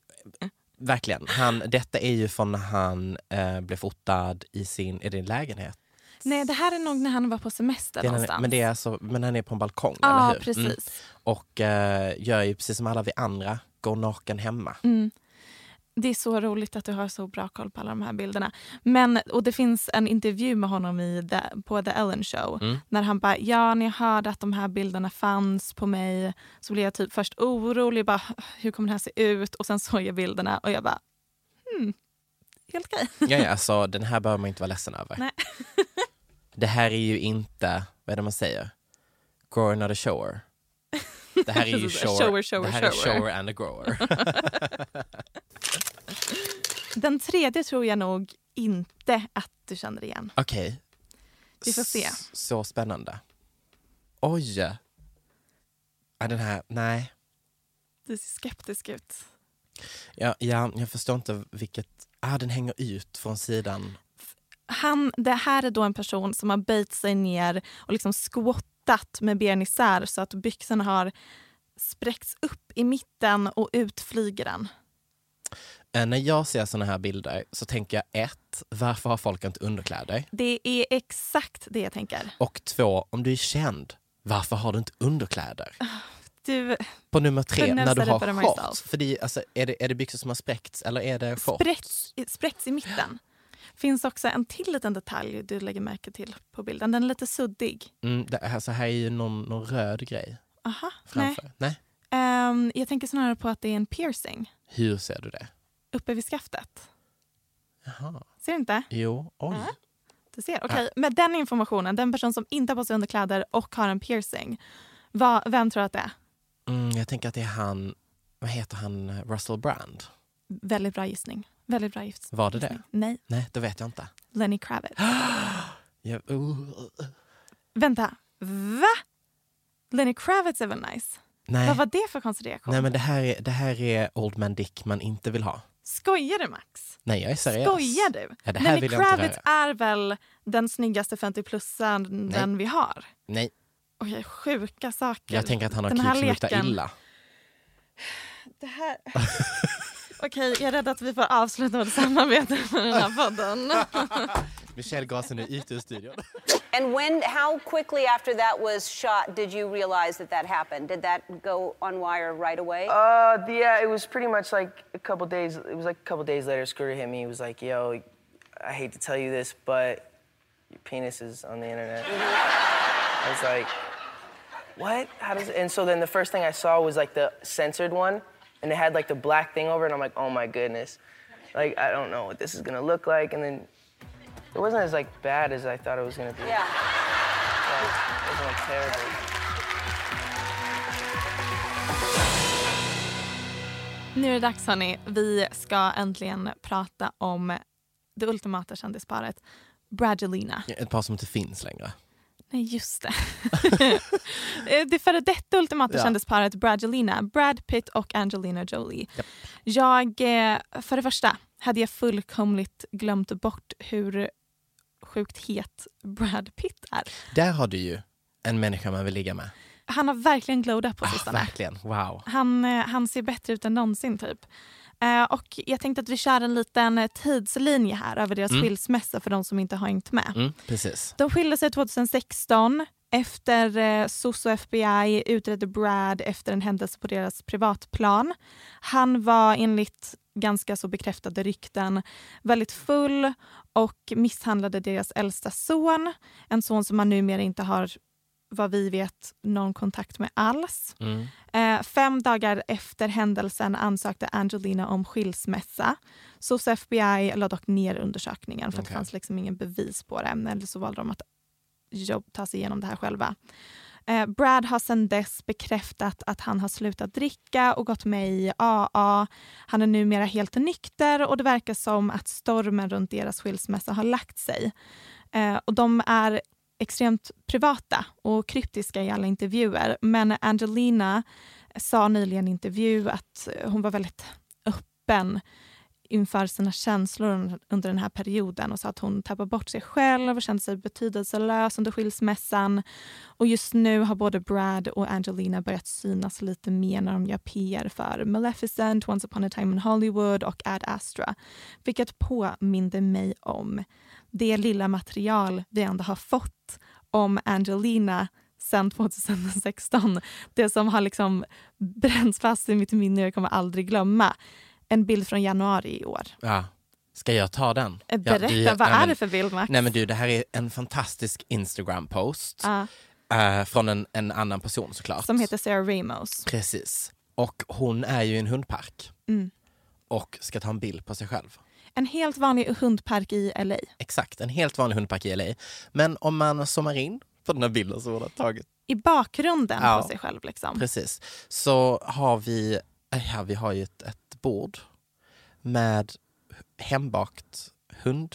Speaker 2: verkligen. Han, detta är ju från när han eh, blev fotad i sin, är det en lägenhet?
Speaker 1: Nej, det här är nog när han var på semester
Speaker 2: Det är när-
Speaker 1: någonstans.
Speaker 2: men, det är alltså, men han är på en balkong,
Speaker 1: Ja,
Speaker 2: eller hur?
Speaker 1: precis.
Speaker 2: Mm. Och eh, gör ju precis som alla vi andra, går naken hemma.
Speaker 1: Mm. Det är så roligt att du har så bra koll på alla de här bilderna. Men, och det finns en intervju med honom i the, på The Ellen Show. När han bara, ja när jag hörde att de här bilderna fanns på mig så blev jag typ först orolig, bara, hur kommer det här se ut? Och sen såg jag bilderna och jag bara, hmm, helt okej. [laughs]
Speaker 2: Ja, ja, alltså, den här behöver man inte vara ledsen över.
Speaker 1: Nej.
Speaker 2: Det här är ju inte, vad är det man säger? Grower not a shower. Det här är ju
Speaker 1: Precis,
Speaker 2: shower,
Speaker 1: [laughs] shower, shower,
Speaker 2: det här
Speaker 1: shower.
Speaker 2: Är shower and a grower.
Speaker 1: [laughs] Den tredje tror jag nog inte att du känner igen.
Speaker 2: Okej.
Speaker 1: Vi får se.
Speaker 2: S- Så spännande. Oj! Ja, den här, nej.
Speaker 1: Du ser skeptisk ut.
Speaker 2: Ja, ja, jag förstår inte vilket... Ah, den hänger ut från sidan.
Speaker 1: han, det här är då en person som har böjt sig ner och liksom squattat med ben isär så att byxorna har spräckts upp i mitten och ut flyger den.
Speaker 2: Eh, när jag ser såna här bilder så tänker jag ett, varför har folk inte underkläder?
Speaker 1: Det är exakt det jag tänker.
Speaker 2: Och två, om du är känd, varför har du inte underkläder?
Speaker 1: Du,
Speaker 2: På nummer tre,
Speaker 1: Couldn't
Speaker 2: när du
Speaker 1: have said it better
Speaker 2: har shorts.
Speaker 1: myself.
Speaker 2: För det, är- alltså, är, det, är det byxor som har spräckts eller är det shorts?
Speaker 1: spräcks, spräcks i mitten. finns också en till liten detalj du lägger märke till på bilden. Den är lite suddig.
Speaker 2: Mm, det, alltså, här är ju någon, någon röd grej
Speaker 1: Aha, nej.
Speaker 2: framför. Nej. nej.
Speaker 1: Ehm, jag tänker snarare på att det är en piercing
Speaker 2: Hur ser du det?
Speaker 1: uppe vid skaftet.
Speaker 2: Jaha.
Speaker 1: Ser du inte?
Speaker 2: Jo, oj.
Speaker 1: Du ser, okej. Med den informationen, den person som inte har på sig underkläder och har en piercing, vad, vem tror du att det är?
Speaker 2: Mm, jag tänker att det är han, vad heter han, Russell Brand?
Speaker 1: Väldigt bra gissning. Väldigt bra gissning.
Speaker 2: Var det det?
Speaker 1: Nej,
Speaker 2: Nej, det vet jag inte.
Speaker 1: Lenny Kravitz.
Speaker 2: Jag, uh,
Speaker 1: Vänta, va? Lenny Kravitz är väl nice?
Speaker 2: nej.
Speaker 1: Vad var det för konstig reaktion?
Speaker 2: nej, men det här, är, det här är Old Man Dick man inte vill ha.
Speaker 1: Skojar du Max?
Speaker 2: Nej, jag är seriös.
Speaker 1: Skojar du?
Speaker 2: Ja, det här
Speaker 1: Lenny
Speaker 2: vill jag inte
Speaker 1: Kravitz
Speaker 2: höra.
Speaker 1: är väl den snyggaste 50-plussaren den vi har?
Speaker 2: Nej,
Speaker 1: Okej, sjuka saker.
Speaker 2: jag tänker att han har
Speaker 1: Den här
Speaker 2: kuk som luktar
Speaker 1: leken-
Speaker 2: illa.
Speaker 1: Det här... [laughs] Okej, jag är rädd att vi får avsluta vårt samarbete med den här
Speaker 2: [laughs]
Speaker 1: podden.
Speaker 2: Michelle Gasen är ute ur studion.
Speaker 8: And when, how quickly after that was shot did you realize that that happened? Did that go on wire right away?
Speaker 3: Uh, yeah, it was pretty much like a couple days. It was like a couple days later. Scooter hit me. He was like, "Yo, I hate to tell you this, but your penis is on the internet." I was like, "What? How does?" And so then the first thing I saw was like the censored one, and it had like the black thing over, it, and I'm like, "Oh my goodness, like I don't know what this is gonna look like." And then it wasn't as like bad as I thought it was gonna be.
Speaker 8: Yeah.
Speaker 3: Like, it wasn't like terrible.
Speaker 1: Nu är det dags hörni. Vi ska äntligen prata om det ultimata kändisparet. Bradgelina.
Speaker 2: [laughs] Ett par som inte finns längre.
Speaker 1: Nej, just det. [laughs] Eh, det före detta ultimata
Speaker 2: Ja.
Speaker 1: kändisparet Bradgelina. Brad Pitt och Angelina Jolie. Jag, eh, för det första, hade jag fullkomligt glömt bort hur sjukt het Brad Pitt är.
Speaker 2: Där har du ju en människa man vill ligga med.
Speaker 1: Han har verkligen glowed up på
Speaker 2: Ah,
Speaker 1: sistone.
Speaker 2: verkligen, wow.
Speaker 1: Han, eh, han ser bättre ut än någonsin typ. Eh, och jag tänkte att vi kör en liten eh, tidslinje här över deras skilsmässa för de som inte har hängt med.
Speaker 2: Mm, precis.
Speaker 1: De skilde sig 2016 efter eh, SOS och FBI utredde Brad efter en händelse på deras privatplan. Han var enligt ganska så bekräftade rykten väldigt full och misshandlade deras äldsta son. En son som man numera inte har, vad vi vet, någon kontakt med alls. Eh, fem dagar efter händelsen ansökte Angelina om skilsmässa. SOS och FBI la dock ner undersökningen för att det
Speaker 2: Okej.
Speaker 1: fanns liksom ingen bevis på det. Eller så valde de att jobb, ta sig igenom det här själva. Eh, Brad har sedan dess bekräftat att han har slutat dricka och gått med i AA. Han är numera helt nykter och det verkar som att stormen runt deras skilsmässa har lagt sig. Eh, och de är extremt privata och kryptiska i alla intervjuer. Men Angelina sa nyligen i intervju att eh, hon var väldigt öppen inför sina känslor un- under den här perioden och sa att hon tappade bort sig själv och kände sig betydelselös under skilsmässan. Och just nu har både Brad och Angelina börjat synas lite mer när de gör PR för Maleficent, Once upon a time in Hollywood och Ad Astra. Vilket påminde mig om det lilla material vi ändå har fått om Angelina sen 2016. Det som har liksom bränts fast i mitt minne och jag kommer aldrig glömma. En bild från januari i år.
Speaker 2: Ja. Ska jag ta den?
Speaker 1: Eh, Berätta,
Speaker 2: ja, du-
Speaker 1: vad
Speaker 2: nej,
Speaker 1: är
Speaker 2: men-
Speaker 1: det för bild, Max?
Speaker 2: Nej men du, det här är en fantastisk Instagram-post.
Speaker 1: Ja,
Speaker 2: eh, från en, en annan person såklart.
Speaker 1: som heter Sarah Ramos.
Speaker 2: Precis. Och hon är ju i en hundpark
Speaker 1: Mm.
Speaker 2: och ska ta en bild på sig själv.
Speaker 1: En helt vanlig hundpark i LA.
Speaker 2: Exakt, en helt vanlig hundpark i LA. Men om man zoomar in på den här bilden som hon har tagit.
Speaker 1: I bakgrunden
Speaker 2: Ja.
Speaker 1: på sig själv. Liksom.
Speaker 2: Precis. Så har vi, eh, ja, vi har ju ett, ett bord med hembakt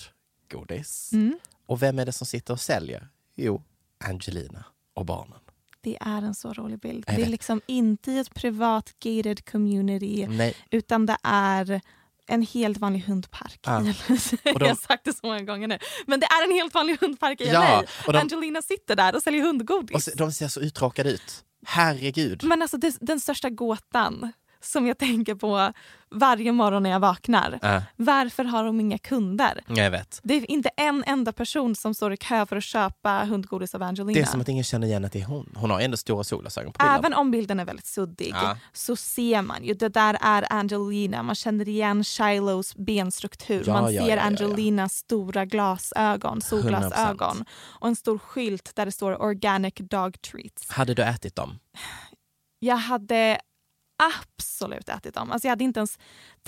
Speaker 2: hundgodis.
Speaker 1: Mm.
Speaker 2: Och vem är det som sitter och säljer? Jo, Angelina och barnen.
Speaker 1: Det är en så rolig bild.
Speaker 2: Jag
Speaker 1: Det är
Speaker 2: vet.
Speaker 1: liksom inte i ett privat gated community
Speaker 2: Nej,
Speaker 1: utan det är en helt vanlig hundpark.
Speaker 2: Ja.
Speaker 1: [laughs]
Speaker 2: Och de-
Speaker 1: Jag har sagt det så många gånger nu. Men det är en helt vanlig hundpark i
Speaker 2: Ja,
Speaker 1: LA.
Speaker 2: och de-
Speaker 1: Angelina sitter där och säljer hundgodis.
Speaker 2: och så, de ser så uttråkade ut. Herregud.
Speaker 1: Men alltså det, den största gåtan som jag tänker på varje morgon när jag vaknar.
Speaker 2: Äh,
Speaker 1: Varför har de inga kunder?
Speaker 2: jag vet.
Speaker 1: Det är inte en enda person som står i kö för att köpa hundgodis av Angelina.
Speaker 2: Det är som att ingen känner igen att det är hon. Hon har ändå stora solglasögon på bilden.
Speaker 1: Även om bilden är väldigt suddig
Speaker 2: Ja.
Speaker 1: så ser man ju, det där är Angelina. Man känner igen Shilohs benstruktur.
Speaker 2: Ja,
Speaker 1: man
Speaker 2: ja,
Speaker 1: ser
Speaker 2: ja, ja, ja.
Speaker 1: Angelinas stora glasögon, solglasögon. Och en stor skylt där det står “Organic Dog Treats”.
Speaker 2: Hade du ätit dem?
Speaker 1: Jag hade absolut ätit dem. Alltså jag hade inte ens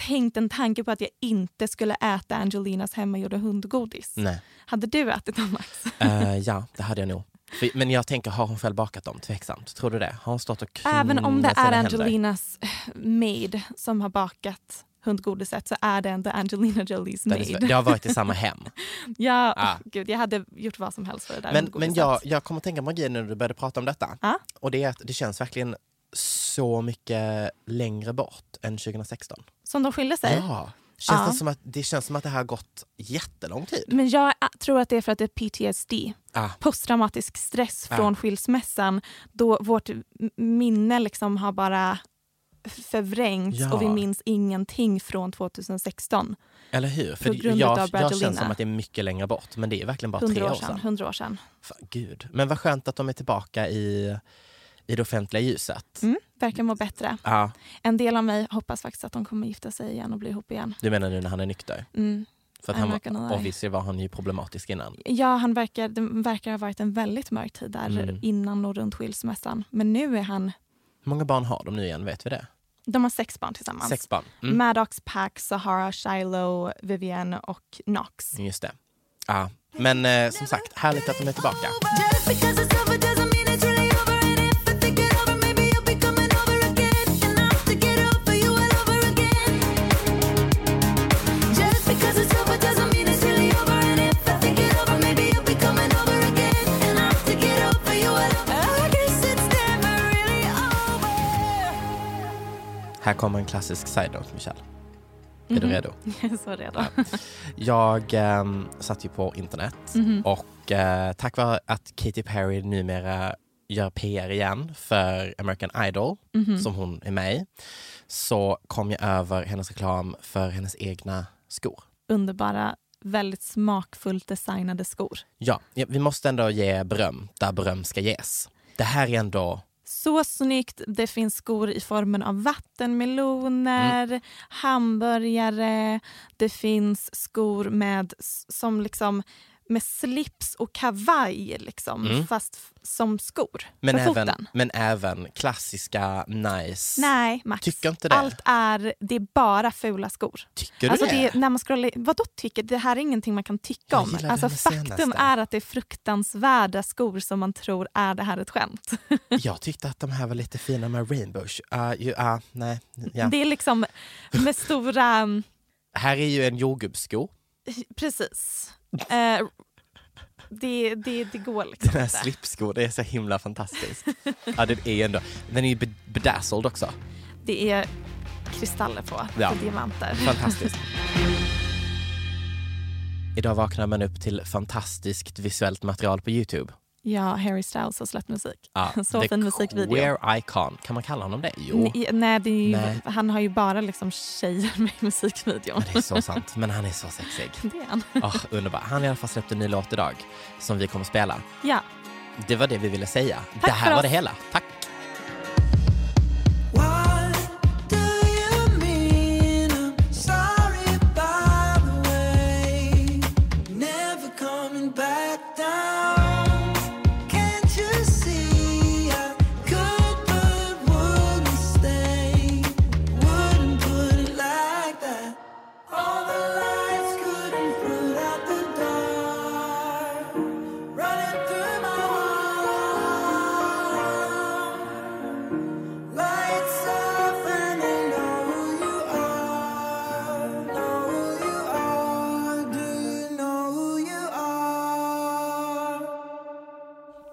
Speaker 1: tänkt en tanke på att jag inte skulle äta Angelinas hemmagjorda hundgodis.
Speaker 2: Nej.
Speaker 1: Hade du ätit dem, Max?
Speaker 2: Eh, ja, det hade jag nog. För, men jag tänker, har hon själv bakat dem? Tveksamt. Tror du det? Har hon stått och klingat
Speaker 1: Även om det
Speaker 2: sina
Speaker 1: är
Speaker 2: händer?
Speaker 1: Angelinas eh, maid som har bakat hundgodiset så är det ändå Angelina Jolies
Speaker 2: Där det-
Speaker 1: maid.
Speaker 2: Det har varit i samma hem.
Speaker 1: [laughs] Ja,
Speaker 2: Ah.
Speaker 1: åh, gud, jag hade gjort vad som helst för det där
Speaker 2: Men, men
Speaker 1: hundgodiset.
Speaker 2: jag, jag kommer tänka på en grej nu när du började prata om detta.
Speaker 1: Ja.
Speaker 2: Och det är att det känns verkligen så mycket längre bort än 2016.
Speaker 1: Som de skiljer sig.
Speaker 2: Ja. Känns
Speaker 1: Ja.
Speaker 2: Det, som att, det känns som att det här har gått jättelång tid.
Speaker 1: Men jag ä, tror att det är för att det är PTSD,
Speaker 2: Ah.
Speaker 1: posttraumatisk stress
Speaker 2: Ah.
Speaker 1: från skilsmässan då vårt m- minne liksom har bara f- förvrängts
Speaker 2: Ja.
Speaker 1: och vi minns ingenting från 2016.
Speaker 2: Eller hur? För
Speaker 1: På
Speaker 2: det-
Speaker 1: grund
Speaker 2: jag,
Speaker 1: utav
Speaker 2: jag känns
Speaker 1: Brangelina.
Speaker 2: som att det är mycket längre bort, men det är verkligen bara tre
Speaker 1: Hundra
Speaker 2: år
Speaker 1: år
Speaker 2: sedan.
Speaker 1: sedan. 100 år sedan.
Speaker 2: Fan, Gud. Men vad skönt att de är tillbaka i, i det offentliga ljuset.
Speaker 1: Mm, verkar må bättre.
Speaker 2: Ja.
Speaker 1: En del av mig hoppas faktiskt att de kommer gifta sig igen och bli ihop igen.
Speaker 2: Du menar nu när han är nykter?
Speaker 1: Mm.
Speaker 2: För att
Speaker 1: I'm
Speaker 2: han,
Speaker 1: not gonna
Speaker 2: var-
Speaker 1: lie.
Speaker 2: obviously var han ju problematisk innan.
Speaker 1: Ja, han verkar, det verkar ha varit en väldigt mörk tid där
Speaker 2: Mm.
Speaker 1: innan och runt skilsmässan. Men nu är han...
Speaker 2: Hur många barn har de nu igen? Vet vi det?
Speaker 1: De har sex barn tillsammans.
Speaker 2: Sex barn. Mm.
Speaker 1: Maddox, Pax, Sahara, Shiloh, Vivienne och Knox.
Speaker 2: Just det. Ja. Men eh, som sagt, härligt att de är tillbaka.
Speaker 9: Just because it's over doesn't mean it's really over. And if I think it over, maybe you'll be coming over again. And I'll have to get over you all over again. Just because it's over doesn't mean it's really over. And if I think it over, maybe you'll be coming over again. And I'll have to get over you all over I guess it's never really over.
Speaker 2: Här kommer en klassisk side note, Michelle. Är
Speaker 1: Mhm.
Speaker 2: du redo?
Speaker 1: Jag är [laughs] så redo.
Speaker 2: Jag ehm, satt ju på internet
Speaker 1: Mhm.
Speaker 2: och eh, tack vare att Katy Perry numera gör PR igen för American Idol,
Speaker 1: Mhm.
Speaker 2: som hon är med i, så kom jag över hennes reklam för hennes egna skor.
Speaker 1: Underbara, väldigt smakfullt designade skor.
Speaker 2: Ja, ja, vi måste ändå ge beröm där beröm ska ges. Det här är ändå...
Speaker 1: Så snyggt. Det finns skor i formen av vattenmeloner,
Speaker 2: Mm.
Speaker 1: hamburgare. Det finns skor med, s- som liksom, med slips och kavaj, liksom,
Speaker 2: Mm.
Speaker 1: fast f- som skor
Speaker 2: Men
Speaker 1: för
Speaker 2: även,
Speaker 1: foten.
Speaker 2: men även klassiska, nice...
Speaker 1: Nej, Max.
Speaker 2: Tycker inte det?
Speaker 1: Allt är, det är bara fula skor.
Speaker 2: Tycker du
Speaker 1: alltså
Speaker 2: det?
Speaker 1: det är, när man scrollar, vadå tycker? Det här är ingenting man kan tycka
Speaker 2: Jag
Speaker 1: om.
Speaker 2: gillar det
Speaker 1: Alltså,
Speaker 2: här
Speaker 1: faktum
Speaker 2: senaste.
Speaker 1: är att det är fruktansvärda skor som man tror är det här ett skämt.
Speaker 2: Jag tyckte att de här var lite fina med rainbow. Uh, ju, ah, nej, ja.
Speaker 1: Det är liksom med stora... um,
Speaker 2: Här är ju en jordgubbssko.
Speaker 1: Precis. Eh, det, det, det går
Speaker 2: Den
Speaker 1: liksom
Speaker 2: här
Speaker 1: inte.
Speaker 2: slipskon, det är så
Speaker 1: [laughs]
Speaker 2: himla fantastiskt. ja, den är ändå... Den är ju be- bedazzled också.
Speaker 1: Det är kristaller på,
Speaker 2: Ja.
Speaker 1: och diamanter.
Speaker 2: Fantastiskt. Idag vaknar man upp till fantastiskt visuellt material på Youtube.
Speaker 1: Ja, Harry Styles har släppt musik.
Speaker 2: Ja,
Speaker 1: [laughs] så
Speaker 2: Ah, the
Speaker 1: fin musikvideo.
Speaker 2: Queer Icon. Kan man kalla honom det? Jo.
Speaker 1: Nej, nej, det är ju,
Speaker 2: Nej.
Speaker 1: han har ju bara liksom tjejer med i musikvideon.
Speaker 2: Det är så sant. Men han är så
Speaker 1: [laughs]
Speaker 2: sexig.
Speaker 1: Det är han.
Speaker 2: Ah, underbar. Han har i alla fall släppt en ny låt idag som vi kommer spela.
Speaker 1: Ja.
Speaker 2: Det var det vi ville säga. det här
Speaker 1: för
Speaker 2: var
Speaker 1: oss.
Speaker 2: det hela. Tack.
Speaker 9: Running through my heart Lights off and I know who you are, know who you are. Do you know who you are?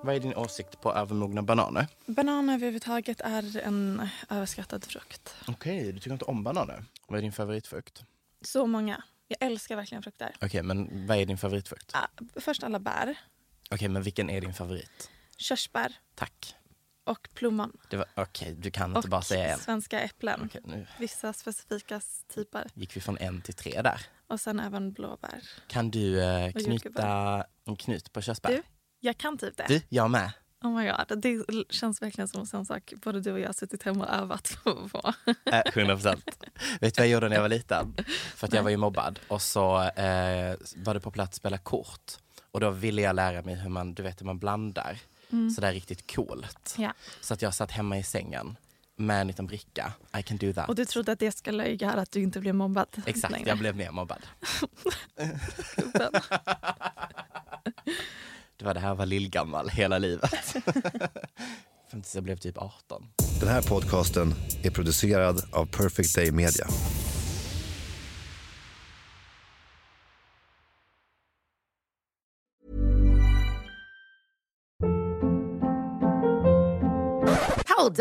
Speaker 2: Vad är din åsikt på övermogna bananer?
Speaker 1: Banan överhuvudtaget är en överskattad frukt.
Speaker 2: Okej, du tycker inte om bananer. Vad är din favoritfrukt?
Speaker 1: Så många. Jag älskar verkligen frukter.
Speaker 2: Okej, men vad är din favoritfrukt?
Speaker 1: Ah, först alla bär,
Speaker 2: Okej, men vilken är din favorit?
Speaker 1: körsbär
Speaker 2: Tack.
Speaker 1: och plommon.
Speaker 2: Det var- Okej, du kan
Speaker 1: Och
Speaker 2: inte bara säga en.
Speaker 1: svenska äpplen.
Speaker 2: Okej, nu
Speaker 1: Vissa specifika typer.
Speaker 2: gick vi från en till tre där.
Speaker 1: Och sen även blåbär.
Speaker 2: Kan du eh,
Speaker 1: Och
Speaker 2: knyta en knut på körsbär?
Speaker 1: Du, jag kan typ det.
Speaker 2: Du, jag med.
Speaker 1: Oh my god, det l- känns verkligen som en sån sak både du och jag har suttit hemma och övat på.
Speaker 2: Eh, 100 procent. Vet du vad jag gjorde när jag var liten? För att jag var ju mobbad. Och så eh, var det på plats att spela kort. Och då ville jag lära mig hur man, du vet, hur man blandar.
Speaker 1: Mm.
Speaker 2: Sådär riktigt coolt.
Speaker 1: Ja.
Speaker 2: Så att jag satt hemma i sängen med en liten bricka. I can do that.
Speaker 1: Och du trodde att det skulle göra att du inte blev mobbad
Speaker 2: Exakt,
Speaker 1: längre.
Speaker 2: jag blev
Speaker 1: [laughs]
Speaker 2: mer mobbad. det var det här var lillgammal hela livet. [laughs] Fram tills jag blev typ 18.
Speaker 10: Den här podcasten är producerad av Perfect Day Media.
Speaker 11: Hold